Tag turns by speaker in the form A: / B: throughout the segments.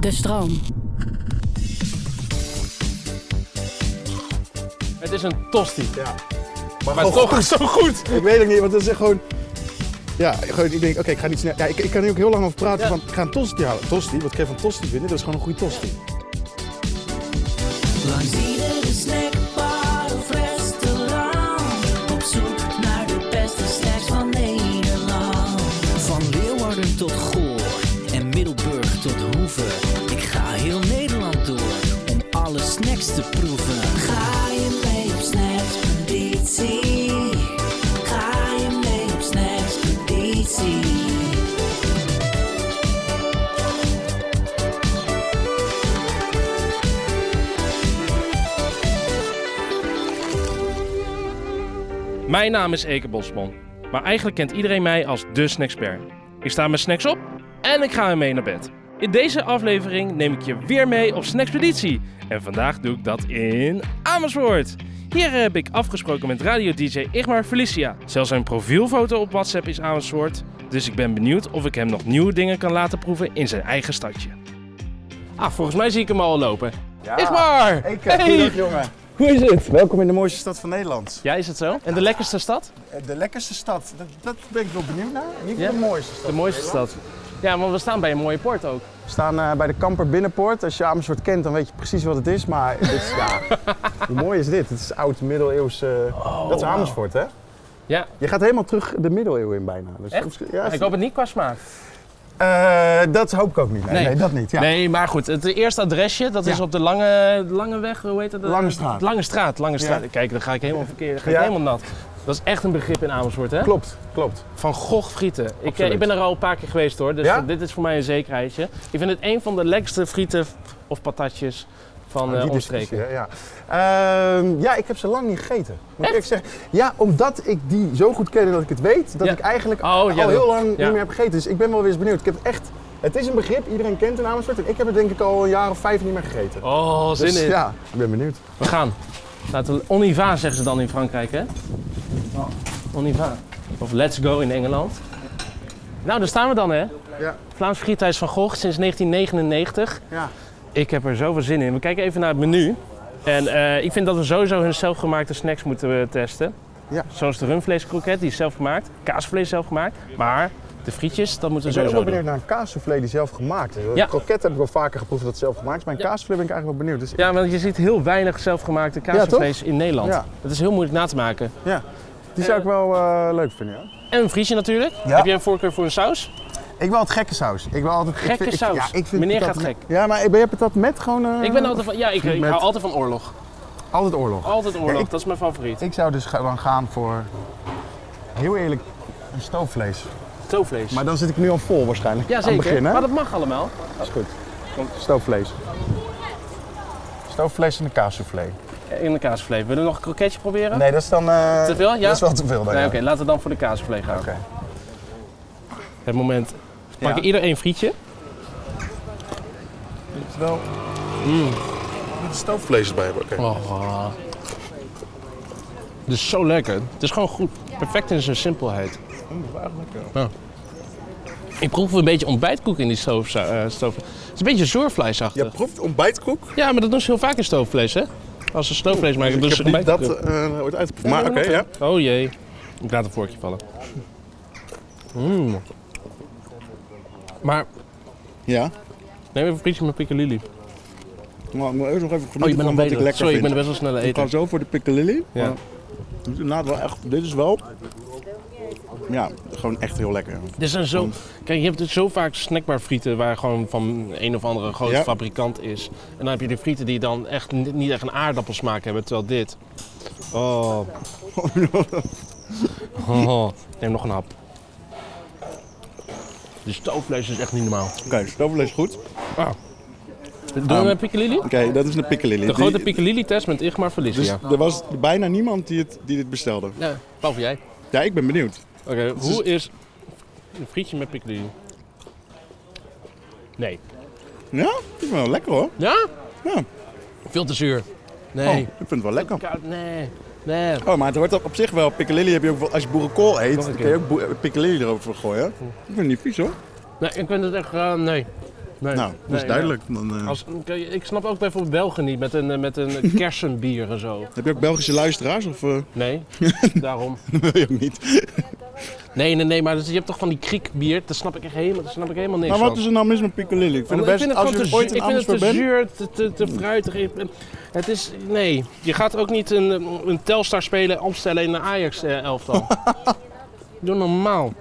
A: De stroom.
B: Het is een tosti.
C: Ja.
B: Maar toch is het zo goed.
C: Ik weet het niet, want dat is echt gewoon... Ja, gewoon, ik denk, oké, ik ga niet snel... Ja, ik, ik kan hier ook heel lang over praten
B: Ja.
C: van, ik ga een tosti halen. Tosti, wat kan je van tosti vinden? Dat is gewoon een goede tosti.
D: Langs iedere snackbar of restaurant Op zoek naar de beste snacks van Nederland
E: Van Leeuwarden tot Goor en Middelburg tot Hoeve. Ik ga heel Nederland door om alle snacks te proeven.
D: Ga je mee op snackspeditie? Ga je mee op snackspeditie?
B: Mijn naam is Eke Bosman. Maar eigenlijk kent iedereen mij als de snackspert. Ik sta mijn snacks op en ik ga er mee naar bed. In deze aflevering neem ik je weer mee op Snackspeditie. En vandaag doe ik dat in Amersfoort. Hier heb ik afgesproken met radio-dj Igmar Felicia. Zelfs zijn profielfoto op WhatsApp is Amersfoort. Dus ik ben benieuwd of ik hem nog nieuwe dingen kan laten proeven in zijn eigen stadje. Ah, volgens mij zie ik hem al lopen. Igmar!
C: Ik,
B: Hey!
C: jongen.
B: Hoe is het?
C: Welkom in de mooiste stad van Nederland.
B: Ja, is het zo? En de lekkerste stad?
C: Eh, De lekkerste stad, dat, dat ben ik wel benieuwd naar. Niet
B: Ja.
C: de mooiste stad.
B: De mooiste stad. Ja, want we staan bij een mooie poort ook.
C: We staan eh, bij de Kamper Binnenpoort. Als je Amersfoort kent, dan weet je precies wat het is. Maar dit is, ja, hoe mooi is dit? Het is oud middeleeuws. eh, dat is Amersfoort, hè?
B: Oh, Ja,
C: Je gaat helemaal terug de middeleeuwen in bijna. Dus
B: Echt?
C: misschien- Ja, is-
B: ik hoop het niet qua smaak.
C: Eh, dat hoop ik ook niet. Nee, nee. dat niet. Ja.
B: Nee, maar goed. Het eerste adresje, dat is
C: Ja.
B: op de lange, lange weg, hoe heet dat?
C: Lange straat.
B: Lange straat, Lange straat.
C: Ja.
B: Kijk, dan ga ik helemaal verkeerd, dan ga ik
C: Ja.
B: helemaal nat. Dat is echt een begrip in Amersfoort, hè?
C: Klopt, klopt.
B: Van Gogh frieten. Ik, eh,
C: Absoluut.
B: ik ben er al een paar keer geweest, hoor. Dus
C: Ja?
B: dit is voor mij een zekerheidje. Ik vind het een van de lekkerste frieten of patatjes van eh
C: Ah, Die dus
B: omstreken.
C: discussie, hè, ja. Ehm, ja, ik heb ze lang niet gegeten. Moet ik eerlijk zeggen. Ja, omdat ik die zo goed ken en dat ik het weet, dat
B: Ja.
C: ik eigenlijk
B: Oh,
C: al
B: ja,
C: heel
B: dat-
C: lang
B: ja.
C: niet meer heb gegeten. Dus ik ben wel weer eens benieuwd. Ik heb het echt, het is een begrip, iedereen kent een Amersfoort. En ik heb het denk ik al een jaar of vijf niet meer gegeten.
B: Oh, zin
C: Dus
B: in.
C: ja, ik ben benieuwd.
B: We gaan. Laten we, on y va, zeggen ze dan in Frankrijk, hè? On y va. Of let's go in Engeland. Nou, daar staan we dan, hè?
C: Ja.
B: Vlaams Friethuis van Gogh sinds 1999.
C: Ja.
B: Ik heb er zoveel zin in. We kijken even naar het menu. En eh, ik vind dat we sowieso hun zelfgemaakte snacks moeten eh, testen.
C: Ja.
B: Zoals de rundvleeskroket, die is zelf gemaakt. Kaasvlees zelf gemaakt. Maar de frietjes, dat moeten
C: Ik
B: we
C: ben ook wel
B: sowieso
C: benieuwd
B: doen.
C: naar een kaassoufflé die zelf gemaakt is.
B: Ja.
C: Ja. Kroket heb ik wel vaker geproefd dat het zelf gemaakt is, maar een kaassoufflé ben ik eigenlijk wel benieuwd. Dus
B: Ja, want je ziet heel weinig zelfgemaakte kaasvlees in Nederland.
C: Ja.
B: Dat is heel moeilijk na te maken.
C: die zou ik wel eh, leuk vinden, ja.
B: En een frietje natuurlijk.
C: Ja.
B: Heb jij een voorkeur voor een saus?
C: Ik wil altijd gekke saus. Ik wil altijd,
B: Gekke saus? Meneer
C: patat
B: gaat
C: met-
B: gek.
C: Ja, maar ben je patat met gewoon... eh,
B: Ik ben altijd van, ja, ik, ik
C: Met-
B: hou altijd van oorlog.
C: Altijd oorlog.
B: Altijd oorlog,
C: Ja, ik-
B: dat is mijn favoriet.
C: Ik zou dus ga- dan gaan voor, heel eerlijk, een stoofvlees.
B: Stoofvlees.
C: Maar dan zit ik nu al vol waarschijnlijk.
B: ja,
C: Aan
B: zeker.
C: het begin, hè?
B: Maar dat mag allemaal.
C: is goed. Stoofvlees. Stoofvlees en een kaassoufflé.
B: In de kaasvlees. Willen we nog een kroketje proberen?
C: Nee, dat is dan... eh,
B: Te veel? Ja?
C: Dat is wel te veel dan,
B: Nee,
C: ja.
B: Oké, laten we dan voor de kaasvlees gaan.
C: Oké.
B: Het moment. We pakken
C: Ja.
B: ieder één frietje.
C: Dit is wel...
B: Hmm.
C: Moet stoofvlees erbij hebben, oké.
B: Oh. Het is zo lekker. Het is gewoon goed. Perfect in zijn simpelheid. Ik proef een beetje ontbijtkoek in die stoof. eh, stoof. Het is een beetje zoorvleesachtig.
C: Je proeft ontbijtkoek?
B: Ja, maar dat doen ze heel vaak in stoofvlees, hè? Als ze stoofvlees maken, doen
C: ik
B: ze
C: heb niet dat
B: ontbijtkoek.
C: eh ooit uitgeproefd. maar oké, ja.
B: Oh jee. Ik laat een vorkje vallen. Mm. Maar
F: Ja?
B: Neem even een frietje met piccalilli.
F: Maar ik moet eerst nog even
B: Oh, je
F: genieten
B: bent
F: van
B: een
F: wat ik
B: beetje.
F: lekker
B: Sorry, ik
F: vind.
B: ben best wel snel
F: Ik ga
B: eten.
F: zo voor de piccalilli.
B: Ja.
F: maar het is inderdaad wel echt, dit is wel... Ja, gewoon echt heel lekker.
B: Er zijn zo, kijk, je hebt dus zo vaak snackbar frieten waar gewoon van een of andere grote
F: Ja.
B: fabrikant is. En dan heb je die frieten die dan echt ni- niet echt een aardappelsmaak hebben, terwijl dit. Oh. Oh, Neem nog een hap. Die stoofvlees is echt niet normaal.
F: Oké, stoofvlees is goed. Oké,
B: Doen we een eh, piccalilli?
F: dat is een piccalilli.
B: De grote
F: Die-
B: piccalilli-test met Igmar Felicia.
F: Dus er was bijna niemand die, het, die dit bestelde.
B: Ja, behalve jij.
F: Ja, ik ben benieuwd.
B: Oké, hoe
F: Dus-
B: is een frietje met piccalilli? Nee.
F: Ja, ik vind het wel lekker hoor.
B: Ja?
F: Ja.
B: Veel te zuur.
F: Oh,
B: Nee.
F: ik vind het wel lekker.
B: Koud, nee. Nee.
F: Oh, maar het hoort op, op zich wel. Piccalilli heb je ook wel. Als je boerenkool eet,
B: Nog een
F: dan kun je ook boe- piccalilli erover gooien. Ik vind het niet vies hoor.
B: Nee, ik vind het echt, eh, nee. nee.
F: Nou, dat
B: Nee,
F: is
B: ja.
F: duidelijk. Dan, eh,
B: Als, kijk, ik snap ook bijvoorbeeld Belgen niet met een, eh, met een kersenbier en zo.
F: Heb je ook Belgische luisteraars of eh,
B: Nee, daarom.
F: wil je ook niet?
B: Nee, nee, nee, maar dus je hebt toch van die kriekbier, daar snap ik echt helemaal, daar snap ik helemaal niks
F: Maar
B: van.
F: wat is er nou mis met piccalilli? Ik vind
B: Want
F: het best, als
B: gewoon
F: je
B: te
F: ooit
B: zuur-
F: in
B: ik vind
F: Amersfoort
B: het te
F: bent...
B: zuur, te, te, te fruitig. Ik ben- Het is, nee. Je gaat ook niet een, eh, een Telstar spelen opstellen in een Ajax-elftal. Doe normaal.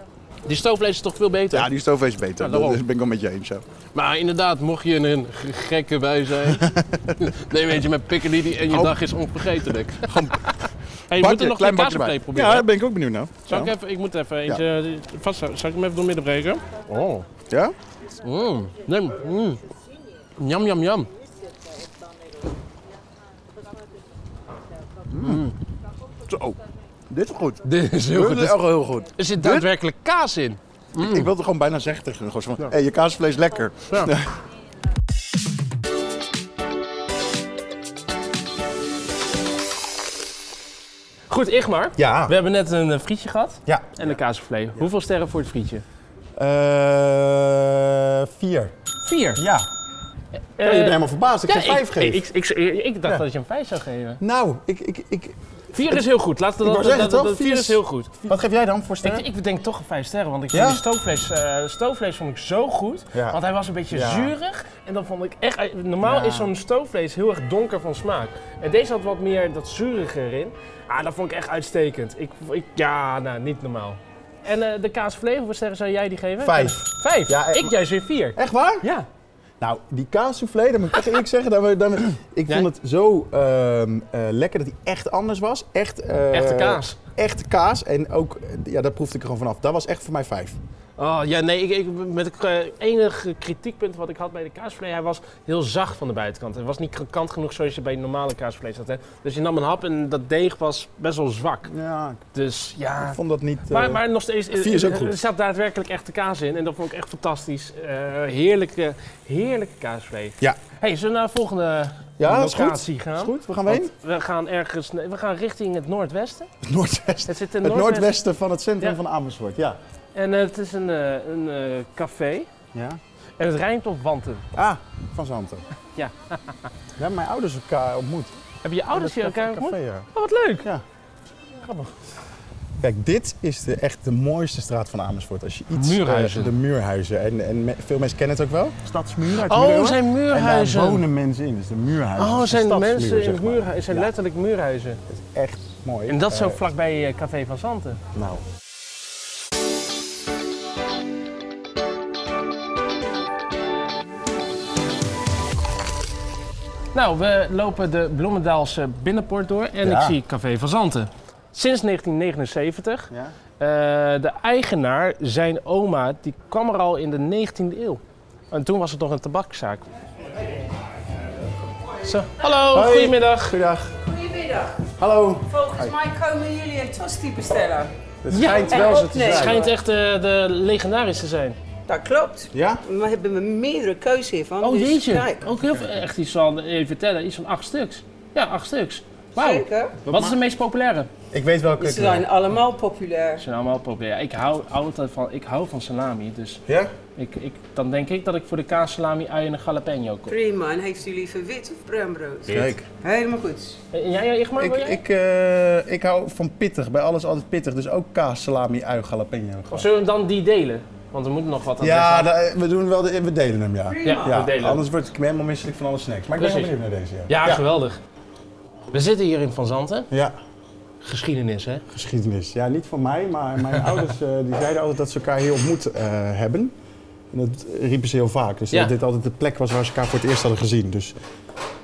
B: Die stoofvlees is toch veel beter?
F: Ja, die stoof is beter.
B: Ja,
F: dat
B: daarom.
F: dat ben ik wel met je eens. Ja.
B: Maar inderdaad, mocht je een g- gekke bij zijn, neem eentje met piccadilly en je
F: Oh.
B: dag is onvergetelijk. hey, je moet
F: Bakje,
B: er
F: klein
B: nog een
F: bakje erbij.
B: kaaspleet proberen.
F: Ja, daar ben ik ook benieuwd naar.
B: Zal ik,
F: ja?
B: even, ik moet even eentje eh, vast. Zal ik hem even door midden breken? Oh.
F: Ja?
B: Mm. Nee, mm. Jam, jam, jam.
F: Zo. Dit is goed.
B: Dit is heel
F: Dit
B: goed. Mm.
F: is echt wel heel goed.
B: Er zit daadwerkelijk kaas in.
F: Ik wilde gewoon bijna zeggen tegen hun. Gewoon zo van, hey, je kaasvlees lekker.
B: Ja. Goed, Igmar.
F: Ja.
B: We hebben net een eh, frietje gehad
C: Ja.
B: en een kaasvlees. Hoeveel sterren voor het frietje?
C: Eh, vier.
B: Vier.
C: Ja.
B: Eh,
C: je bent helemaal verbaasd. Ik
B: ja,
C: heb vijf
B: ik,
C: gegeven.
B: Ik, ik, ik- ik dacht
C: Ja.
B: dat je een vijf zou geven.
C: nou, ik, ik, ik,
B: Vier is heel goed. Laten we
C: wou
B: dat,
C: zeggen,
B: dat- dat-
C: toch?
B: dat-
C: Vier
B: Vier
C: is-
B: is heel goed.
C: wat geef jij dan voor sterren?
B: Ik, ik denk toch een vijf sterren, want ik
C: Ja?
B: vond die stoofvlees, eh, stoofvlees vond ik zo goed.
C: Ja.
B: Want hij was een beetje
C: Ja.
B: zuurig. En dan vond ik echt. eh, Normaal
C: Ja.
B: is zo'n stoofvlees heel erg donker van smaak. En deze had wat meer dat zurige erin. Ah, dat vond ik echt uitstekend. Ik, ik, ja, nou, niet normaal. En eh, de kaasvlees, hoeveel sterren zou jij die geven?
C: Vijf.
B: Vijf?
C: Ja, eh,
B: ik juist weer vier.
C: Echt waar?
B: Ja.
C: Nou, die kaassoufflé, dat moet ik echt eerlijk zeggen. Dat we, dat we- ik
B: Ja.
C: vond het zo ehm, eh, lekker dat hij echt anders was. Echt, eh,
B: Echte kaas.
C: Echte kaas. En ook, eh, ja, dat proefde ik er gewoon vanaf. Dat was echt voor mij vijf.
B: Oh ja, nee, ik, ik, met het eh, enige kritiekpunt wat ik had bij de kaasvlees, hij was heel zacht van de buitenkant. Hij was niet krokant genoeg zoals je bij normale kaasvlees had. Hè? Dus je nam een hap en dat deeg was best wel zwak.
C: Ja,
B: Dus ja.
C: ik vond dat niet... eh,
B: Maar, maar nog steeds, eh,
C: Vier is ook
B: eh,
C: goed.
B: er zat daadwerkelijk echte kaas in en dat vond ik echt fantastisch. Eh, heerlijke, heerlijke kaasvlees.
C: Ja.
B: hey, zullen we naar de volgende
C: ja, is goed.
B: locatie gaan?
C: Is goed, we gaan we heen.
B: We gaan ergens, nee, we gaan richting het noordwesten.
C: Het noordwesten.
B: Het zit in
C: Het noordwesten van het centrum
B: Ja.
C: van Amersfoort, ja.
B: En eh, het is een, eh, een eh, café
C: ja.
B: en het rijmt op wanten.
C: Ah, van Zanten.
B: Ja.
C: We hebben mijn ouders elkaar ontmoet.
B: Hebben je ouders
C: In
B: je
C: het
B: elkaar
C: café,
B: ontmoet?
C: ja.
B: Oh, wat leuk!
C: Kijk, dit is de, echt de mooiste straat van Amersfoort. Als je iets
B: Muurhuizen.
C: eh, de muurhuizen. En, en me- veel mensen kennen het ook wel. Stadsmuur uit
B: Oh, zijn
C: En daar
B: muurhuizen.
C: wonen mensen in, dus de muurhuizen.
B: oh,
C: Dus de
B: zijn
C: stadsmuur,
B: mensen in
C: zeg maar.
B: muurhuizen, zijn
C: Ja.
B: letterlijk muurhuizen.
C: Echt mooi.
B: En dat
C: Eh,
B: zo vlakbij eh, Café van Zanten.
C: Nou.
B: Nou, we lopen de Bloemendaalse binnenpoort door en
C: Ja.
B: ik zie Café van Zanten. Sinds 1979.
C: Ja.
B: Eh, de eigenaar, zijn oma, die kwam er al in de 19e eeuw. En toen was het nog een tabakzaak. Zo. Hallo,
C: Hoi.
B: goedemiddag.
C: Goedendag.
G: Goedemiddag.
C: Hallo.
G: Volgens mij komen jullie een tosti bestellen.
C: Het
B: Ja,
C: schijnt
G: en
C: wel zo te
G: opnemen.
C: zijn.
B: Het schijnt echt eh, de legendarisch te zijn.
G: Dat klopt.
C: Ja?
G: We hebben meerdere keuze hiervan.
B: Oh
G: dus
B: jeetje,
G: Kijk,
B: ook heel veel, echt iets van, even vertellen, iets van acht stuks. Ja, acht stuks. Wauw. eh.
G: zeker.
B: Wat is de meest populaire?
C: Ik weet welke
G: Ze
C: het is.
G: zijn allemaal populair.
B: Ze zijn allemaal populair. Ik hou altijd van, ik hou van salami, dus
C: Ja?
B: ik, ik, dan denk ik dat ik voor de kaas, salami, ui en een jalapeno kom.
G: Prima. En heeft u liever wit of bruin brood?
C: Kijk.
G: Helemaal goed.
B: Eh, En jij, jij, Igmar,
C: Ik,
B: wil jij?
C: ik, eh, ik hou van pittig, bij alles altijd pittig. Dus ook kaas, salami, ui, jalapeno.
B: Of zullen we dan die delen? Want er moet nog wat aan
C: Ja,
B: deze-
C: da- we, doen wel de, we delen hem, ja.
B: Ja, we
C: Ja,
B: delen.
C: anders word ik helemaal misselijk van alle snacks. Maar ik ben wel
B: Precies.
C: benieuwd naar deze, ja.
B: ja, geweldig. We zitten hier in Van Zanten.
C: Ja,
B: Geschiedenis, hè?
C: geschiedenis. Ja, niet van mij, maar mijn ouders eh, die zeiden altijd dat ze elkaar heel ontmoet eh, hebben. En dat riepen ze heel vaak. Dus
B: Ja.
C: dat dit altijd de plek was waar ze elkaar voor het eerst hadden gezien. Dus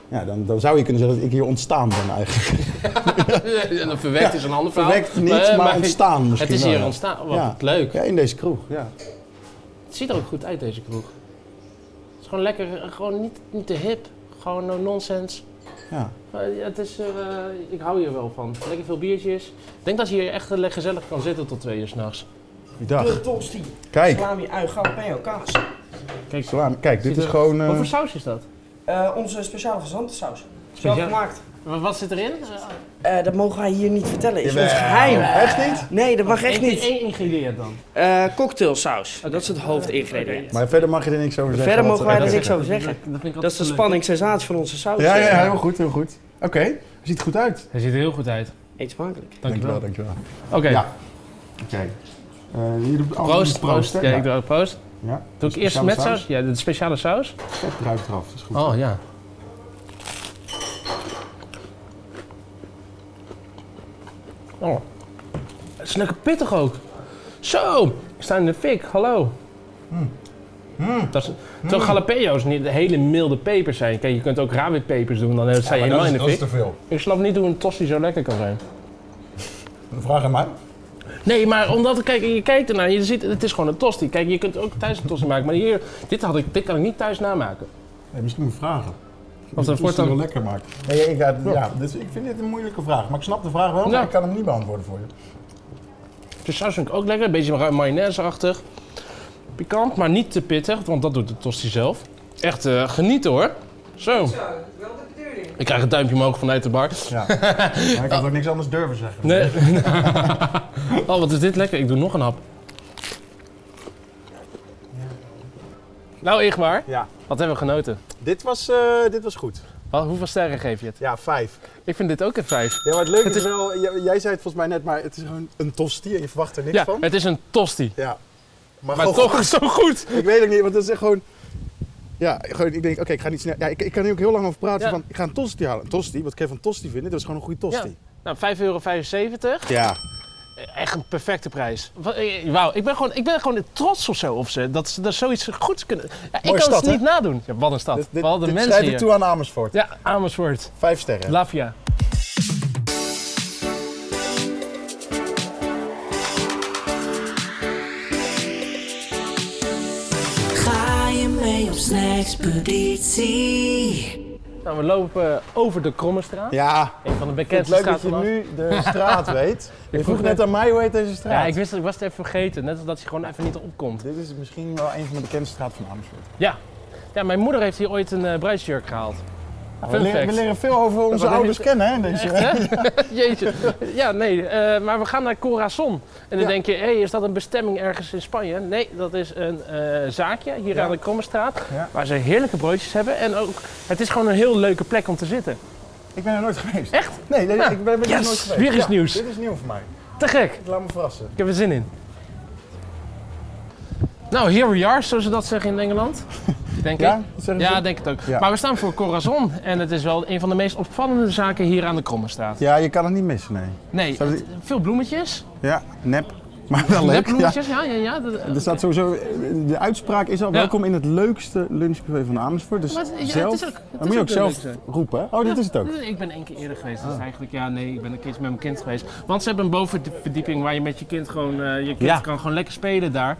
C: ja, dan, dan zou je kunnen zeggen dat ik hier ontstaan ben eigenlijk.
B: En dan verwekt is een ander verhaal.
C: Verwekt niet, maar, ontstaan misschien
B: Eh, Het is
C: wel,
B: hier
C: ja.
B: ontstaan. Wat
C: Ja.
B: leuk.
C: Ja, in deze kroeg. Ja.
B: Het ziet er ook goed uit, deze kroeg. Het is gewoon lekker, eh, gewoon niet, niet te hip. Gewoon no nonsense.
C: Ja.
B: Eh, ja, het is, eh, ik hou hier wel van. Lekker veel biertjes. Ik denk dat je hier echt eh, gezellig kan zitten tot twee uur s'nachts.
C: Dag.
H: Tosti,
C: Kijk,
H: salami, ui, jalapeno, kaas.
C: Salam. Kijk, dit
B: Ziet
C: is
B: er-
C: gewoon... eh,
B: Wat voor saus is dat?
H: Eh, onze speciale fazantensaus. Zelf
B: Speciaal?
H: gemaakt.
B: Wa- Wat zit erin? Eh,
H: Eh, dat mogen wij hier niet vertellen. Is ons
C: Jawel.
H: geheim.
C: Echt niet?
H: Nee, dat mag echt
B: één-
H: niet.
B: één ingrediënt dan.
H: Eh cocktailsaus. Dat is het hoofdingrediënt.
C: Maar verder mag je er niks over zeggen.
H: Verder
C: want-
H: mogen wij
C: Oké.
H: er niks over zeggen.
B: vind ik altijd
H: Dat is de
B: leuk.
H: spanning, sensatie van onze saus.
C: Ja, ja, ja, heel goed, heel goed. Oké, ziet er goed uit.
B: Hij ziet er heel goed uit.
H: Eet smakelijk.
B: Dankjewel.
C: dankjewel.
B: Oké,
C: Ja. Oké. Eh hier doet alles
B: proost. Proost.
C: hè?
B: Ja, ik
C: ja.
B: doe ook proost.
C: ja.
B: Doe ik eerst
C: Speciale
B: met
C: saus?
B: saus? Ja, de speciale saus.
C: Het ruikt eraf, dat is goed.
B: Oh ja. Oh. Het is lekker pittig ook. Zo, ik sta in de fik, hallo.
C: Hmm.
B: Dat is, terwijl jalapenos niet de hele milde pepers zijn. Kijk, je kunt ook rawietpepers doen, dan sta je
C: Maar
B: helemaal in de
C: dat is,
B: fik.
C: dat is te veel.
B: Ik snap niet hoe een tosti zo lekker kan zijn.
C: Een vraag aan mij.
B: Nee, maar omdat, kijk, je kijkt ernaar, je ziet, het is gewoon een tosti. Kijk, je kunt ook thuis een tosti maken, maar hier, dit, had ik, dit kan ik niet thuis namaken.
C: Nee, misschien moet ik vragen.
B: Want dan
C: Of het
B: wordt dan...
C: wel lekker maakt. Nee, ik, ja, ja, dus ik vind dit een moeilijke vraag. Maar ik snap de vraag wel,
B: Ja.
C: maar ik kan hem niet beantwoorden voor je.
B: De saus vind ik ook lekker, een beetje mayonaise-achtig. Pikant, maar niet te pittig, want dat doet de tosti zelf. Echt eh, genieten hoor. Zo,
G: Zo, wel de bedoeling.
B: ik krijg een duimpje omhoog vanuit de bar.
C: Ja. maar ik had ook niks anders durven zeggen.
B: Nee. oh, wat is dit lekker. Ik doe nog een hap. Nou, Igmar,
C: Ja,
B: wat hebben we genoten?
C: dit was, eh, dit was goed.
B: Wat, hoeveel sterren geef je het?
C: Ja, vijf.
B: Ik vind dit ook een 5.
C: Ja, maar het leuke is wel, jij, jij zei het volgens mij net, maar het is gewoon een tosti en je verwacht er niks
B: Ja,
C: van. Oh.
B: het is een tosti.
C: Ja. Maar,
B: Maar
C: gewoon
B: toch zo goed.
C: Ik weet het niet, want dat is echt gewoon... Ja, gewoon, ik denk, oké, ik ga niet snel... Ja, ik, ik kan hier ook heel lang over praten
B: Ja.
C: van, ik ga een tosti halen. Een tosti, wat kan je van tosti vinden? Dat is gewoon een goede tosti.
B: Nou, 5,75 euro.
C: Ja.
B: Echt een perfecte prijs. Wa- eh, Wauw, ik ben gewoon, ik ben gewoon trots of zo op ze. Dat ze daar zoiets goeds kunnen. Ja, ik kan
C: stad,
B: het
C: hè?
B: niet nadoen. Ja, wat een stad.
C: Dit, dit,
B: wat een
C: dit
B: mensen
C: schrijf ik
B: hier.
C: toe aan Amersfoort.
B: Ja, Amersfoort.
C: Vijf sterren.
B: Lafia.
D: Ga je mee op snackspeditie?
B: Nou, we lopen over de Krommestraat.
C: Ja,
B: Een van de
C: het
B: bekendste
C: leuk dat
B: straten van
C: je
B: Amsterdam.
C: nu de straat weet. Je vroeg net aan mij hoe heet deze straat.
B: Ja, ik wist het, ik was het even vergeten. Net als dat hij gewoon even niet opkomt.
C: Dit is misschien wel een van de bekendste straten van Amersfoort.
B: Ja. Ja, mijn moeder heeft hier ooit een eh, bruidsjurk gehaald.
C: we,
B: Fun
C: leren, we
B: fact.
C: leren veel over onze
B: was
C: ouders
B: niet-
C: kennen, hè? in Deze...
B: Jeetje. Ja, nee. eh, maar we gaan naar Corazon. En dan
C: Ja.
B: denk je, hé, hey, is dat een bestemming ergens in Spanje? Nee, dat is een eh, zaakje hier
C: Ja.
B: aan de Krommestraat.
C: Ja.
B: Waar ze heerlijke broodjes hebben. En ook, het is gewoon een heel leuke plek om te zitten.
C: Ik ben er nooit geweest.
B: Echt? Ah.
C: Nee, nee,
B: Ja.
C: ik ben er
B: Yes,
C: nooit geweest.
B: weer iets
C: Ja,
B: nieuws.
C: Dit is nieuw voor mij.
B: Te gek.
C: Ik laat me verrassen.
B: Ik heb er zin in. Nou, here we are, zoals ze dat zeggen in Engeland. Denk
C: Ja?
B: ik.
C: Dat zeggen
B: Ja,
C: ze?
B: denk het ook.
C: Ja.
B: Maar we staan voor Corazon en het is wel een van de meest opvallende zaken hier aan de Krommenstraat.
C: Ja, je kan het niet missen, nee.
B: Nee,
C: Zou die-
B: het- veel bloemetjes.
C: Ja, nep. Maar wel leuk. Ja. dus
B: bloemetjes, ja, ja, ja. dat-
C: Er staat sowieso, de uitspraak is al
B: Ja.
C: welkom in het leukste lunchbuffet van Amersfoort. Dus
B: Maar het- ja, het
C: zelf,
B: is ook- het
C: dan
B: is
C: moet je
B: ook
C: ook
B: de
C: zelf
B: leukste.
C: roepen. hè? Oh, dit is het ook.
B: Ik ben één keer eerder geweest, dus eigenlijk, ja, nee, ik ben een keertje met mijn kind geweest. Want ze hebben een bovenverdieping waar je met je kind gewoon, eh, je kind
C: Ja.
B: kan gewoon lekker spelen daar.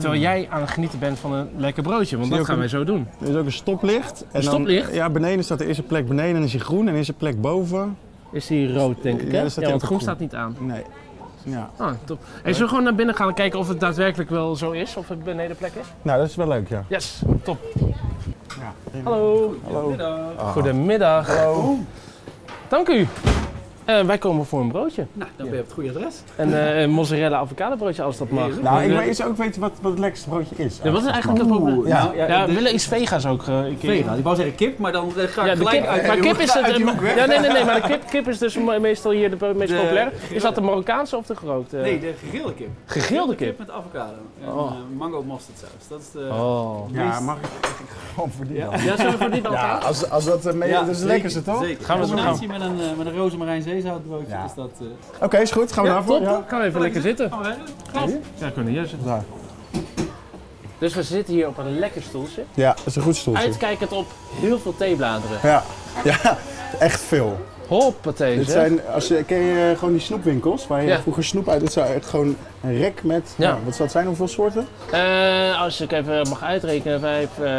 B: Terwijl jij aan het genieten bent van een lekker broodje, want
C: je
B: dat
C: ook
B: gaan
C: een-
B: wij zo doen.
C: Er is ook een stoplicht. En
B: stoplicht?
C: ja, beneden staat de eerste plek beneden en dan is hij groen en is de plek boven.
B: Is die rood, denk ik,
C: Ja,
B: hè?
C: er staat
B: Ja,
C: ook
B: want
C: een
B: groen
C: groen.
B: staat niet aan.
C: Nee. Ja.
B: Ah, top. Hey, zullen we gewoon naar binnen gaan en kijken of het daadwerkelijk wel zo is? Of het benedenplek is?
C: Nou, dat is wel leuk, ja.
B: Yes, top. Hallo.
C: Hallo.
B: Goedemiddag. Hallo. Dank u. Eh, wij komen voor een broodje.
I: Nou, dan ben je op het goede adres.
B: En eh, een mozzarella avocado broodje als dat mag.
C: Nou, ik wil
B: Eh,
C: eens ook weten wat, wat het lekkerste broodje is.
B: Ja, wat is eigenlijk het probleem? Nou,
C: Ja.
B: Ja, ja, we willen iets vega's ook. eh, een keer.
I: Vega, ik wou zeggen kip, maar dan eh, ga ik
B: Ja, de
I: gelijk
B: kip,
I: uit.
B: maar kip is het. eh,
I: Uit die hoek weg.
B: ja, nee, nee, nee, maar de kip, kip is dus me- meestal hier de meest
I: De
B: populaire. Is
I: gegrilde-
B: dat de Marokkaanse of de gerookte?
I: Nee, de gegrilde kip.
B: Gegrilde kip?
I: met avocado en
B: Oh.
I: eh, mango mostardsaus. Dat is eh, de
B: Oh.
I: meest-
C: Ja, mag ik gewoon voor die
I: Ja.
C: dan?
I: Ja, zullen we voor die dan
C: Ja,
I: gaan?
C: als, als dat, eh, mee,
I: Ja,
C: dat is het
I: zeker,
C: lekkerste toch?
I: Zeker. Gaan we combinatie met een, eh, met een rozemarijn zeezoutbroodje is dat... eh,
C: Oké, is goed. Gaan we
I: Ja,
C: daarvoor?
I: top,
C: Ja.
I: top. Gaan we even lekker zitten. Gaan we even. Glas.
B: Oh, Ja, kunnen hier zitten. Dus we zitten hier op een lekker stoeltje.
C: Ja, dat is een goed stoeltje.
B: Uitkijkend op heel veel theebladeren.
C: Ja. ja, echt veel.
B: Hoppatee.
C: Dit
B: zeg.
C: zijn, als je, ken je eh, gewoon die snoepwinkels waar je
B: Ja.
C: vroeger snoep uit... Het zou echt gewoon een rek met,
B: Ja.
C: nou, wat zou het zijn, hoeveel soorten?
B: Eh, als ik even mag uitrekenen, vijf, eh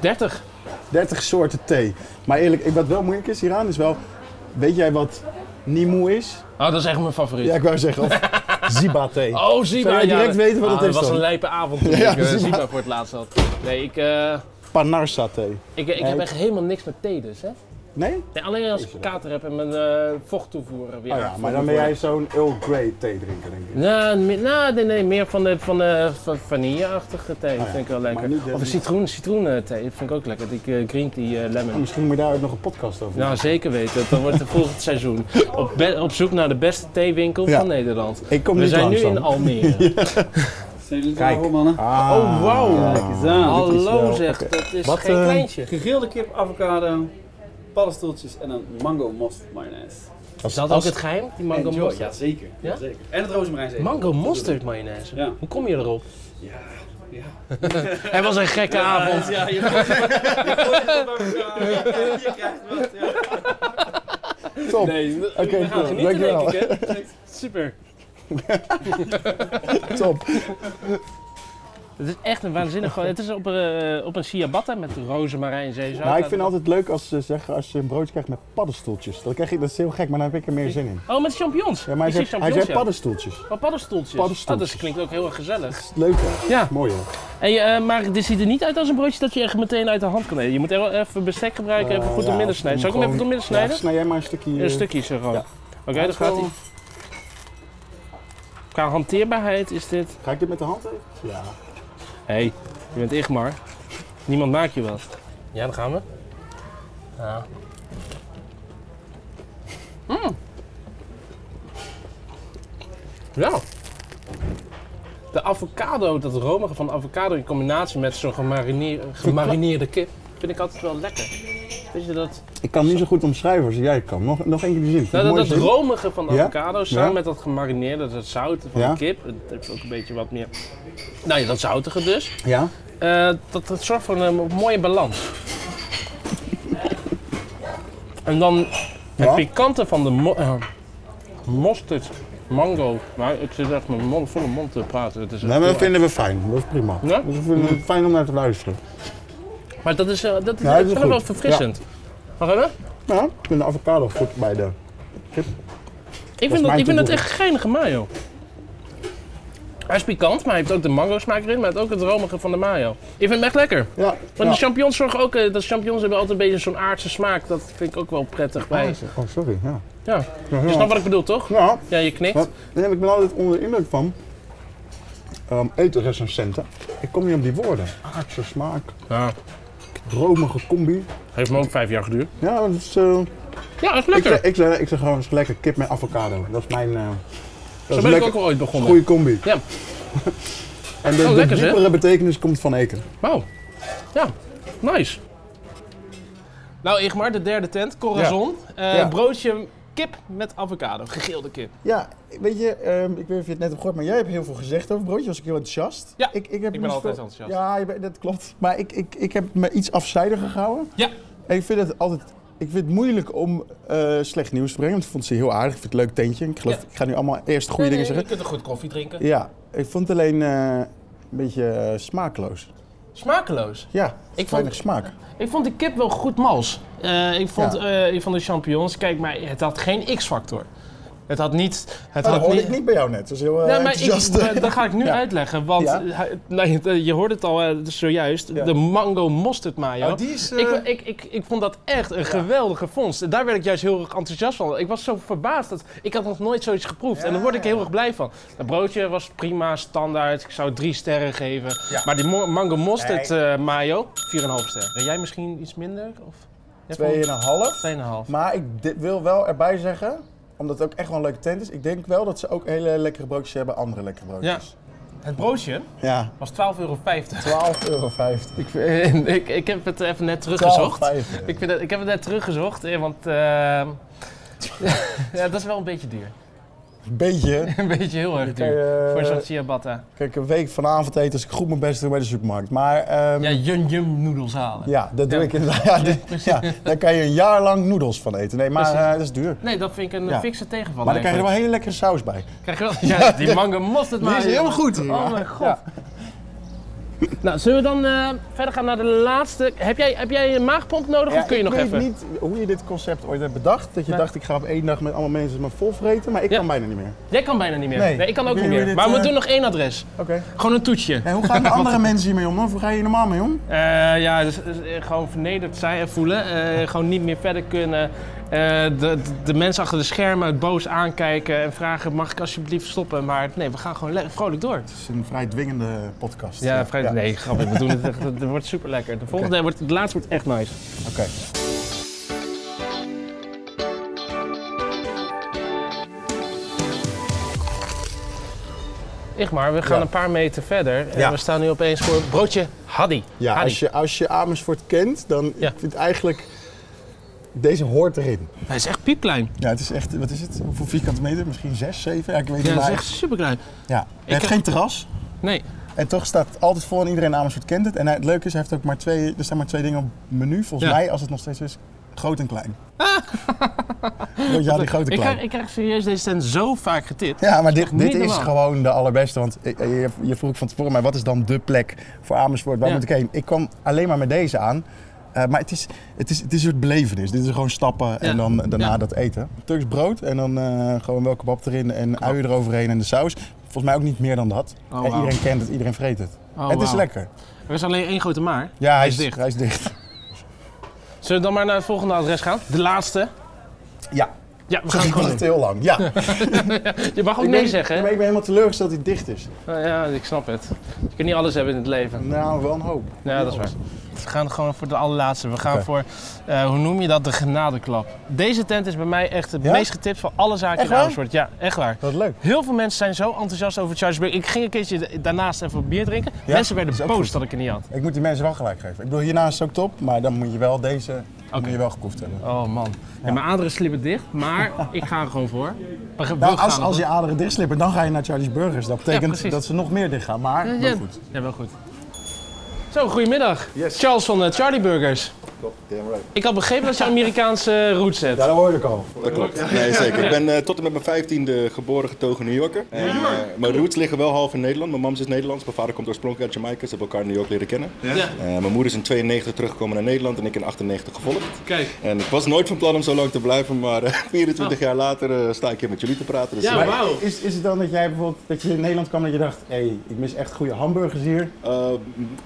B: 30.
C: 30 soorten thee. Maar eerlijk, ik- wat wel moeilijk is hieraan is wel, weet jij wat Nimoe is?
B: Oh, dat is echt mijn favoriet.
C: Ja, ik wou zeggen, of Ziba thee.
B: Oh, Ziba.
C: Zou jij direct weten wat
B: Ah,
C: het is
B: Dat was
C: dan?
B: een lijpe avond toen
C: Ja,
B: ik eh,
C: Ziba.
B: Ziba voor het laatst had. Nee, ik, eh,
C: Panarsa thee.
B: ik, ik heb echt helemaal niks met thee dus, hè?
C: Nee?
B: Nee, alleen als ik kater heb en mijn eh, vocht toevoeren weer.
C: Oh ja, maar dan ben jij zo'n Earl Grey thee drinker, denk ik.
B: Nou, me- nou, nee, nee, meer van de, van de va- vanille-achtige thee
C: Oh ja,
B: vind ik wel
C: maar
B: lekker.
C: niet de-
B: Of een citroen, citroenthee vind ik ook lekker. Die eh, green tea eh,
C: Nou,
B: lemon.
C: misschien moet je daar ook nog een podcast over
B: Nou, zeker weten. Dan wordt het volgend seizoen op, be- op zoek naar de beste theewinkel
C: Ja.
B: van Nederland.
C: Ik kom
B: We
C: niet
B: zijn nu
C: langs
B: in
C: dan.
B: Almere.
I: Zijn jullie
C: Kijk.
I: er al, mannen?
C: Ah,
B: Oh, wauw.
I: Kijk eens aan.
B: Hallo,
I: Dit is wel-
B: zeg,
I: Oké.
B: dat is
I: Wat,
B: geen
I: eh,
B: kleintje.
I: Gegrilde kip, avocado, paddenstoeltjes en een mango mosterd mayonaise.
B: Is dat ook het geheim, die mango
I: Enjoy.
B: mosterd?
I: Ja, zeker. Ja?
B: Ja?
I: zeker. En het rozemarijn
B: Mango mosterd mayonaise.
I: Ja.
B: Hoe kom je erop?
I: Ja, ja.
B: Het was een gekke
I: Ja,
B: avond.
I: Ja, je gooit je gooit het op elkaar. Ja, Je krijgt wat, ja.
C: Top.
I: Nee, we
C: Oké,
I: we gaan
C: cool.
I: genieten
C: Dankjewel.
I: denk ik, hè. Super.
C: Top.
B: Het is echt een waanzinnig. Het is op, eh, op een ciabatta met rozemarijn zeezout.
C: Nou, ik vind het altijd leuk als ze zeggen als je een broodje krijgt met paddenstoeltjes. Dat, krijg ik, dat is heel gek, maar dan heb ik er meer zin in.
B: Oh, met champignons.
C: Ja, maar hij
B: Ik zie
C: zei, hij zei
B: champignons,
C: paddenstoeltjes.
B: ja. Oh, paddenstoeltjes.
C: Paddenstoeltjes.
B: Oh, dat klinkt ook heel erg gezellig.
C: Leuk hè?
B: Ja.
C: Mooi hè?
B: En, je, eh, maar dit ziet er niet uit als een broodje dat je echt meteen uit de hand kan eten. Je moet er wel even bestek gebruiken, even goed
C: door
B: door midden snijden. Zal ik hem even door midden snijden?
C: snij jij maar een stukje.
B: Een stukjes er gewoon.
C: Ja.
B: Oké, dan gaat hij. Qua hanteerbaarheid is dit.
C: eh, Ga ik dit met de hand even? Ja.
B: Hé, hey, je bent Igmar. Niemand maakt je wat. Ja, dan gaan we. Ja. Mm. Ja. De avocado, dat romige van de avocado in combinatie met zo'n gemarineer- gemarineerde kip, vind ik altijd wel lekker. Weet je dat?
C: Ik kan niet zo goed omschrijven als jij kan. Nog, nog één keer die zin. Vind je
B: Nou, dat,
C: mooi
B: dat
C: zin?
B: romige van de
C: Ja?
B: avocado samen
C: Ja?
B: met dat gemarineerde, dat zout van
C: Ja?
B: de kip. Het heeft ook een beetje wat meer. Nou ja, dat zoutige dus.
C: Ja?
B: Eh, dat, dat zorgt voor een mooie balans. en dan het
C: Ja?
B: pikante van de mo- eh, mosterd, mango. Maar ik zit echt met mijn mond, volle mond te praten. Het is echt
C: Nee, maar
B: heel
C: dat vinden we fijn. Dat is prima.
B: Ja?
C: Dus we vinden het fijn om naar te luisteren.
B: erg. Maar dat is, eh, dat is,
C: Ja, dat
B: ik
C: is
B: vind het wel
C: goed.
B: verfrissend. Mag ik even?
C: Ja, ik vind de avocado goed bij de...
B: Ik vind, dat,
C: mijn
B: ik vind dat
C: toevoeging.
B: echt geinige mayo. Hij is pikant, maar hij heeft ook de mango smaak erin, maar hij heeft ook het romige van de mayo. Ik vind hem echt lekker.
C: Ja.
B: Want
C: ja.
B: de champignons zorgen ook, eh, dat champignons hebben altijd een beetje zo'n aardse smaak. Dat vind ik ook wel prettig bij.
C: Oh, sorry. Ja.
B: Ja,
C: Ja,
B: je
C: ja.
B: snapt wat ik bedoel toch?
C: Mhm. Ja.
B: Ja, je knikt.
C: Wat? Nee, maar ik ben altijd onder de indruk van ehm etenrecensenten. Ik kom niet op die woorden. Aardse smaak,
B: Ja,
C: romige combi.
B: heeft me ook vijf jaar geduurd.
C: Ja, dat is... eh,
B: Ja, dat is
C: ik,
B: lekker.
C: zeg, ik, zeg, ik zeg gewoon eens lekker kip met avocado. Dat is mijn... eh, dat
B: Zo
C: is
B: ben ik
C: lekker.
B: ook al ooit begonnen.
C: Goeie combi.
B: Ja.
C: En de,
B: Oh,
C: de
B: lekker, zeg.
C: diepere betekenis komt van eten.
B: Wauw. Ja, nice. Nou, Igmar, de derde tent, Corazon. Eh,
C: Ja.
B: Broodje kip met avocado, gegilde kip.
J: Ja, weet je, ehm, ik weet niet of je het net hebt gehoord, maar jij hebt heel veel gezegd over broodje. Was ik heel enthousiast.
B: Ja,
J: ik, heb
B: ik ben
J: niet
B: altijd
J: veel-
B: enthousiast.
J: Ja, je bent- dat klopt. Maar ik, ik, ik heb me iets afzijdiger gehouden.
B: Ja.
J: En ik vind het altijd. Ik vind het moeilijk om eh, slecht nieuws te brengen. Want ik vond ze heel aardig. Ik vind het een leuk tentje. Ik geloof,
B: Ja.
J: ik ga nu allemaal eerst goede dingen
B: Je
J: zeggen.
B: kunt een goed koffie drinken.
J: Ja, ik vond het alleen eh, een beetje eh, smaakloos.
B: Smakeloos.
J: Ja,
B: vond-
J: weinig smaak.
B: Ik vond de kip wel goed mals. Eh, ik, vond,
J: Ja.
B: eh, ik vond de champignons, kijk, maar het had geen X-factor. Het had niet... Het
C: Oh, dat
B: had
C: hoorde ik niet bij jou net. Dat is heel eh,
B: Nee, maar
C: enthousiast.
B: ik, maar dat ga ik nu
C: Ja.
B: uitleggen, want eh,
C: Ja.
B: hij- nee, het- je hoorde het al eh, zojuist, de mango mosterd mayo.
C: Oh, die is, eh,
B: ik, ik, ik, ik vond dat echt een geweldige vondst. En Daar werd ik juist heel erg enthousiast van. Ik was zo verbaasd, dat, ik had nog nooit zoiets geproefd en daar word ik heel erg blij van. Het broodje was prima, standaard, ik zou drie sterren geven. Maar die mo- mango mosterd
C: Nee.
B: eh, mayo, 4,5 sterren. En jij misschien iets minder? Of? Jij vond-
C: 2,5.
B: 2,5.
C: Maar ik di- wil wel erbij zeggen, omdat het ook echt wel een leuke tent is. Ik denk wel dat ze ook hele lekkere broodjes hebben, andere lekkere
B: Ja.
C: broodjes.
B: Het broodje
C: Ja.
B: was 12,50 euro.
C: 12,50 euro.
B: Ik, vind- ik, ik heb het even net teruggezocht.
C: 12,50.
B: Ik, vind het, ik heb het net teruggezocht, eh, want eh, ja, dat is wel een beetje duur.
C: Beetje.
B: Een beetje heel erg
C: Kan eh, je,
B: duur. Voor zo'n ciabatta.
C: Kijk, een week vanavond eten als ik goed mijn best doe bij de supermarkt. Maar ehm,
B: Ja, yum yum noedels halen.
C: ja, dat doe ik inderdaad. Ja, dit- ja, daar kan je een jaar lang noedels van eten. Nee, maar
B: Precies.
C: eh, dat is duur.
B: Nee, dat vind ik een
C: Ja.
B: fikse tegenvaller.
C: Maar dan krijg je er wel
B: eigenlijk.
C: hele lekkere saus bij.
B: Krijg je wel- ja, die mango mosterd
C: Die
B: maar.
C: is heel
B: jongen.
C: goed.
B: Oh mijn god. Nou, zullen we dan eh, verder gaan naar de laatste? Heb jij, heb jij een maagpomp nodig of kun je nog
C: ik
B: even?
C: weet niet hoe je dit concept ooit hebt bedacht. Dat je
B: Nee.
C: dacht, ik ga op één dag met allemaal mensen me volvreten. Maar ik kan bijna niet meer.
B: Jij kan bijna niet meer. Nee,
C: Nee.
B: ik kan ook
C: Ik weet
B: niet
C: niet
B: meer.
C: hoe dit,
B: maar we
C: eh,
B: doen nog één adres.
C: Oké.
B: Gewoon een toetje.
C: En hoe gaan de andere mensen hiermee om? dan? Hoe ga je hier normaal mee om?
B: Eh, ja, dus, dus, eh, gewoon vernederd zijn en voelen. eh, gewoon niet meer verder kunnen. Eh, de, de mensen achter de schermen het boos aankijken en vragen: mag ik alsjeblieft stoppen? Maar nee, we gaan gewoon le- vrolijk door.
C: Het is een vrij dwingende podcast.
B: Ja, vrij, nee, grappig. We doen het echt. Het wordt super lekker. De volgende wordt, het laatste wordt echt nice.
C: Oké.
B: Ik maar, we gaan
C: Ja.
B: een paar meter verder. En
C: Ja.
B: we staan nu opeens voor broodje Haddy.
C: Ja,
B: Haddy.
C: als je, als je Amersfoort kent, dan
B: Ja.
C: ik vind eigenlijk... Deze hoort erin.
B: Hij is echt piepklein.
C: Ja, het is echt... Wat is het? Hoeveel vierkante meter? Misschien zes, zeven? Ja, ik weet
B: Ja,
C: niet.
B: hij is
C: maar-
B: echt super klein.
C: Ja.
B: Ik
C: Hij heeft
B: heb-
C: geen terras.
B: Nee.
C: En toch staat het altijd vol en iedereen Amersfoort kent het. En hij- het leuke is, hij heeft ook maar twee, er staan maar twee dingen op het menu. Volgens
B: Ja. Ah.
C: mij, als het nog steeds is, groot en klein. ja, die groot en
B: ik,
C: klein.
B: krijg, ik krijg serieus deze tent zo vaak getipt.
C: Ja, maar dit,
B: Echt
C: dit
B: niet
C: is
B: normaal.
C: gewoon de allerbeste. Want eh, je, je vroeg van tevoren, maar wat is dan de plek voor Amersfoort? Waar
B: Ja.
C: moet ik heen? Ik kwam alleen maar met deze aan. Eh, maar het is, het, is, het is een soort belevenis. Dit is gewoon stappen en dan daarna
B: Ja.
C: dat eten. Turks brood en dan eh, gewoon wel kebab erin en uien eroverheen en de saus. Volgens mij ook niet meer dan dat.
B: Oh,
C: en
B: wauw.
C: iedereen kent het, iedereen vreet het.
B: Oh,
C: het is
B: wauw.
C: lekker.
B: Er is alleen één grote maar.
C: Ja, hij
B: is
C: is,
B: dicht.
C: Hij is dicht.
B: Zullen we dan maar naar het volgende adres gaan? De laatste.
C: Ja.
B: Ja, we gaan
C: Sorry,
B: het
C: ik
B: gewoon
C: wacht heel lang. Ja.
B: doen. Je mag ook
C: Ik
B: nee
C: ben-
B: zeggen. hè?
C: Maar ik ben helemaal teleurgesteld dat hij dicht is.
B: Nou ja, ik snap het. Je kunt niet alles hebben in het leven.
C: Nou, wel een hoop.
B: Ja, dat is waar. We gaan gewoon voor de allerlaatste. We gaan
C: Oké.
B: voor, eh, hoe noem je dat, de genadeklap. Deze tent is bij mij echt het
C: Ja?
B: meest getipt van alle zaken
C: Echt
B: in
C: waar?
B: Amersfoort. Ja, echt waar.
C: Wat leuk.
B: Heel veel mensen zijn zo enthousiast over Charlesburg. Ik ging een keertje daarnaast even een bier drinken.
C: Ja?
B: mensen werden
C: Is ook
B: boos
C: goed.
B: dat ik het niet had.
C: Ik moet die mensen wel gelijk geven. Ik bedoel, hierna is het ook top, maar dan moet je wel deze moet je wel geproefd hebben.
B: Oh man. Ja, mijn aderen sliepen dicht, maar ik ga er gewoon voor. We gaan-
C: Nou,
B: we
C: als,
B: gaan
C: als
B: ervoor.
C: je aderen dichtslippen, dan ga je naar Charlie's Burgers. Dat betekent
B: precies.
C: dat ze nog meer dicht gaan, maar
B: Ja,
C: wel
B: ja.
C: goed.
B: Ja, wel goed. Zo, goedemiddag. Charles van eh, Charlie Burgers. Ik had begrepen dat je Amerikaanse roots hebt.
C: dat hoorde ik al.
K: Dat klopt. Nee, zeker. Ik ben eh, tot en met mijn vijftiende geboren getogen New Yorker. En, eh, mijn roots liggen wel half in Nederland. Mijn mam is Nederlands. Mijn vader komt oorspronkelijk uit Jamaica. Ze hebben elkaar in New York leren kennen.
B: Ja.
K: Eh, mijn moeder is in 92 teruggekomen naar Nederland en ik in 98 gevolgd.
B: Kijk. Oh.
K: En ik was nooit van plan om zo lang te blijven, maar eh, 24 jaar later eh, sta ik hier met jullie te praten. Dus,
C: Maar
K: eh,
C: Is, is het dan dat jij bijvoorbeeld dat je in Nederland kwam en dat je dacht, hé, ik mis echt goede hamburgers hier?
K: eh,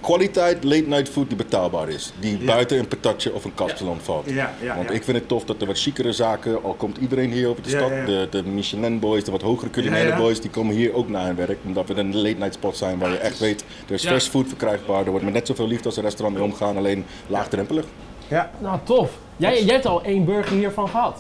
K: kwaliteit late night food die betaalbaar is. Die buiten een patatje of een kapsalon valt.
C: Ja, ja,
K: Want
C: ja.
K: ik vind het tof dat er wat chiekere zaken, al komt iedereen hier over de
C: Ja,
K: stad.
C: ja, ja.
K: De, de Michelin boys, de wat hogere culinaire
C: Ja, ja.
K: boys, die komen hier ook naar hun werk. Omdat we een late night spot zijn waar je echt weet, er is
B: Ja.
K: fresh food verkrijgbaar. Er wordt met net zoveel liefde als een restaurant mee omgaan, alleen laagdrempelig.
C: Ja.
B: Nou, tof. Jij, jij hebt al één burger hiervan gehad.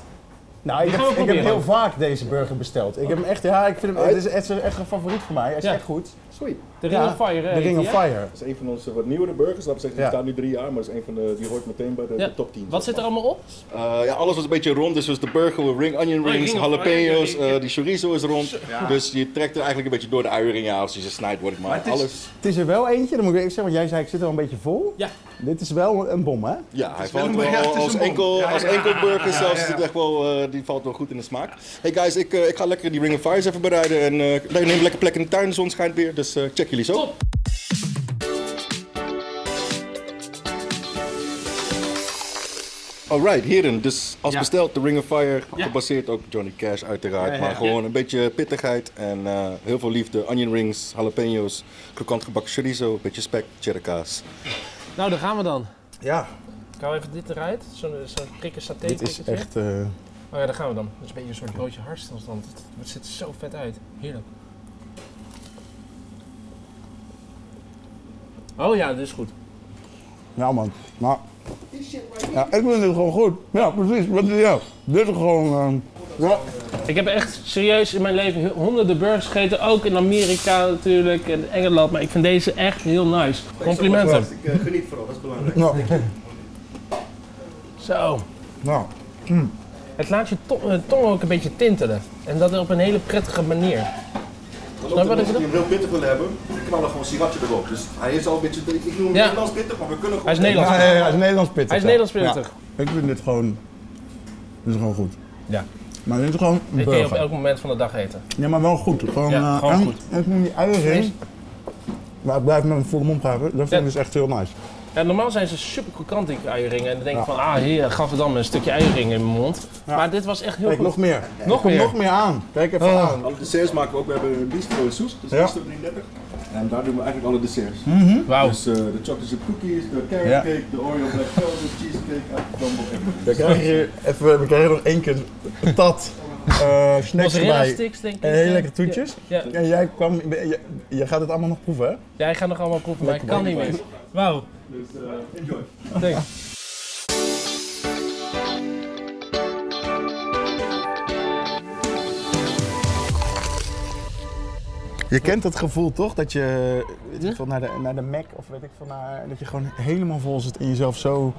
C: Nou, ik
B: Die
C: heb,
B: gaan we
C: ik heb
B: proberen.
C: heel vaak deze burger besteld. Ik heb hem echt, ja, ik vind hem, het is echt, echt een favoriet van mij. Hij is
B: Ja.
C: echt goed.
K: Sweet.
B: De Ring
C: Ja,
B: of Fire. hè,
C: de Ring
B: heet
C: of
B: die, hè?
C: Fire.
K: Dat is een van onze wat nieuwere burgers. Laten we zeggen, die
C: Ja.
K: staat nu drie jaar, maar dat is een van de, die hoort meteen bij de,
B: Ja.
K: de top 10.
B: Wat zit er allemaal op?
K: Eh, ja, alles was een beetje rond. Dus was de burger, ring onion
B: Oh,
K: rings,
B: ring of
K: jalapenos,
B: fire, ja, ja.
K: eh, die chorizo is rond. Dus je trekt er eigenlijk een beetje door de uiering ja, als je ze snijdt, wordt het maar, alles.
C: Het is er wel eentje, dan moet ik even zeggen, want jij zei ik zit er al een beetje vol.
B: Ja.
C: Dit is wel een bom, hè?
K: Ja, hij
C: wel
K: valt
C: een-
K: wel
C: ja, het is
K: als,
C: een bom.
K: enkel,
C: Ja,
K: als
C: ja,
K: enkel
C: ja,
K: burger
C: ja,
K: zelfs.
C: ja.
K: Is het echt wel, eh, die valt wel goed in de smaak. Hey guys, ik, eh, ik ga lekker die ring of fires even bereiden. En eh neem een lekker plek in de tuin, de zon schijnt weer. Dus eh, check jullie zo. Alright, heren. Dus als
L: Ja.
K: besteld, The Ring of Fire. Gebaseerd ook op Johnny Cash, uiteraard.
L: Ja, ja,
K: maar
L: ja.
K: gewoon een beetje pittigheid en eh, heel veel liefde. Onion rings, jalapenos, krokant gebakken chorizo, een beetje spek, cheddar kaas.
B: Nou, daar gaan we dan.
M: Ja.
B: Ik hou even dit eruit. Zo'n zo prikken saté
M: Dit is
B: prikketje.
M: echt, eh,
B: Oh ja, daar gaan we dan. Dat is een beetje een soort broodje hartstilstand. Het ziet er zo vet uit. Heerlijk. Oh ja, dit is goed.
C: Ja, man. Maar, ja, ik vind het gewoon goed. Ja, precies. Wat is jou? Dit is gewoon... eh, ja.
B: Ik heb echt serieus in mijn leven heel- honderden burgers gegeten. Ook in Amerika natuurlijk en Engeland. Maar ik vind deze echt heel nice. Complimenten.
K: Ik eh, geniet vooral, dat is belangrijk.
B: Zo.
C: Nou.
B: Het laat je to- eh, tong ook een beetje tintelen. En dat op een hele prettige manier. wat
K: Omdat de
B: ik
K: mensen die hem heel pittig willen hebben, die knallen gewoon sriracha erop. Dus hij is al een beetje, ik noem hem
B: Ja.
K: Nederlands pittig, maar we kunnen gewoon...
C: Ja, ja, ja, hij is Nederlands pittig.
B: Hij is Nederlands pittig.
C: Ja. Ik vind dit gewoon... Dit is gewoon goed.
B: Ja.
C: Maar dit is gewoon een
B: Dit kun je op
C: burger.
B: elk moment van de dag eten.
C: Ja, maar wel goed. Gewoon,
B: Ja,
C: eh,
B: gewoon
C: en-
B: goed.
C: en Ik noem die uierring.
B: Vlees.
C: Maar ik blijf met mijn volle mond praten. Dat vind ik dus echt heel nice.
B: Ja, normaal zijn ze super krokant, die eieringen. En dan denk ik van, ah, hier gaf het dan een stukje eiering in mijn mond. Maar dit was echt heel
C: Kijk,
B: goed.
C: nog meer.
B: Nog
C: Komt
B: meer.
C: nog meer aan. Kijk even
B: Oh.
C: aan.
K: Alle desserts maken we ook. We hebben een bistro en soes, dus
C: Ja.
K: bistro 33. En daar doen we eigenlijk alle desserts.
C: Mhm.
B: Wauw.
K: Dus eh, de chocolate chip cookies, de carrot
C: Ja.
K: cake, de Oreo black velvet, cheesecake, appelflambo, everything.
C: Dan krijg je even, we krijgen nog één keer een tat eh, snacks
B: Mozzarella
C: erbij.
B: sticks, denk ik.
C: En hele lekkere toetjes.
B: Ja. Ja.
C: En jij kwam, jij, jij gaat het allemaal nog proeven, hè?
B: Jij gaat nog allemaal proeven, maar ik
C: Lekker
B: kan niet
C: man.
B: meer. Wauw.
K: Dus eh, enjoy.
B: Thanks.
C: Je kent dat gevoel toch? Dat je weet ik veel, naar, de, naar de Mac of weet ik veel, naar, dat je gewoon helemaal vol zit en jezelf zo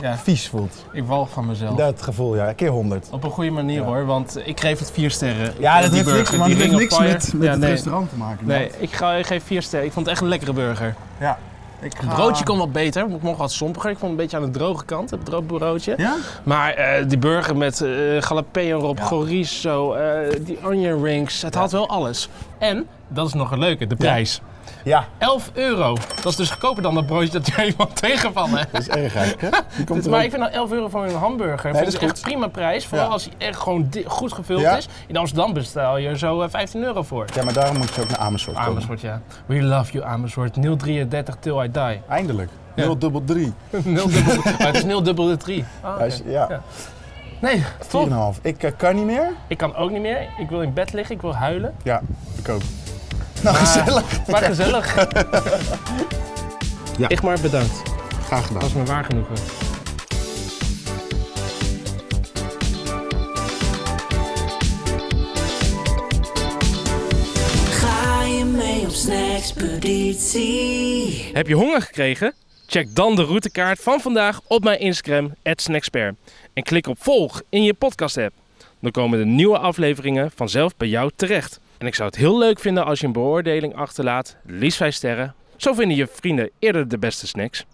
B: Ja.
C: vies voelt.
B: Ik walg van mezelf.
C: Dat gevoel, ja. Keer 100.
B: Op een goede manier hoor, want ik geef het vier sterren.
C: Ja, dat
B: Die
C: heeft niks,
B: burger,
C: maar
B: die
C: dat
B: Ring
C: heeft
B: of
C: niks
B: Fire.
C: met- met het
B: nee.
C: restaurant te maken,
B: Nee,
C: inderdaad.
B: ik, ga, ik geef vier sterren. Ik vond het echt een lekkere burger.
C: Ja. Ik
B: Het broodje kon wat beter, ik mocht wat sompiger. Ik vond het een beetje aan de droge kant, het droog broodje.
C: Ja?
B: Maar eh, die burger met eh jalapeno erop, chorizo, eh, die onion rings, het had wel alles. En, dat is nog een leuke, de prijs.
C: Ja.
B: 11 euro. Dat is dus goedkoper dan dat broodje dat jij iemand tegenvallen.
C: Dat is erg eigenlijk, hè? Die komt
B: Dus, maar ik vind nou 11 euro voor een hamburger
C: Nee,
B: vind
C: dat
B: ik
C: is
B: echt prima prijs. Vooral als hij echt gewoon di- goed gevuld
C: Ja.
B: is. In Amsterdam bestel je er zo eh, 15 euro voor.
C: Ja, maar daarom moet je ook naar Amersfoort komen.
B: Amersfoort, ja. We love you, Amersfoort. 033 till I die.
C: Eindelijk. 0 dubbel 3.
B: 0 dubbel, maar het is 0 dubbel de 3.
C: Hij is- ja.
B: Nee, top.
C: 4,5. Ik eh, kan niet meer.
B: Ik kan ook niet meer. Ik wil in bed liggen, ik wil huilen.
C: Ja, ik ook. Nou,
N: Ah,
C: gezellig.
B: Maar gezellig.
C: Ja.
B: Ik maar bedankt.
C: Graag gedaan.
B: Dat is me waar genoegen.
O: Ga je mee op snackspeditie?
N: Heb je honger gekregen? Check dan de routekaart van vandaag op mijn Instagram, @snacksper En klik op volg in je podcast app. Dan komen de nieuwe afleveringen vanzelf bij jou terecht. En ik zou het heel leuk vinden als je een beoordeling achterlaat, liefst 5 sterren. Zo vinden je vrienden eerder de beste snacks.